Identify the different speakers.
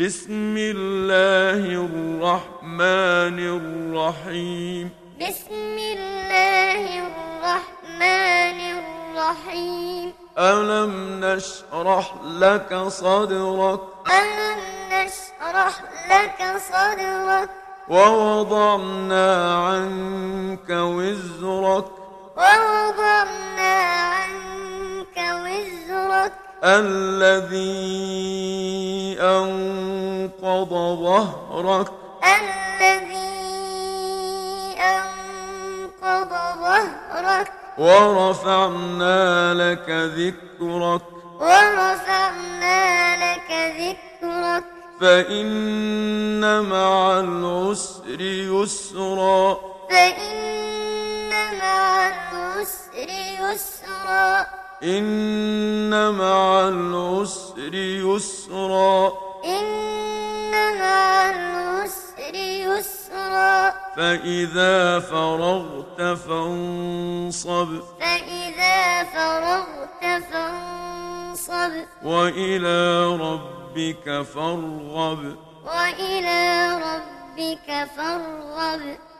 Speaker 1: بسم الله الرحمن الرحيم
Speaker 2: بسم الله الرحمن الرحيم
Speaker 1: ألم نشرح لك صدرك
Speaker 2: ألم نشرح لك صدرك
Speaker 1: ووضعنا عنك وزرك
Speaker 2: ووضعنا عنك وزرك
Speaker 1: الذي أنقض ظهرك
Speaker 2: الذي أنقض ظهرك
Speaker 1: ورفعنا لك ذكرك
Speaker 2: ورفعنا لك ذكرك
Speaker 1: فإن مع العسر يسرا
Speaker 2: فإن مع العسر يسرا
Speaker 1: إن مع العسر يسرا
Speaker 2: إن مع العسر يسرا
Speaker 1: فإذا فرغت فانصب
Speaker 2: فإذا فرغت فانصب
Speaker 1: وإلى ربك فارغب
Speaker 2: وإلى ربك فارغب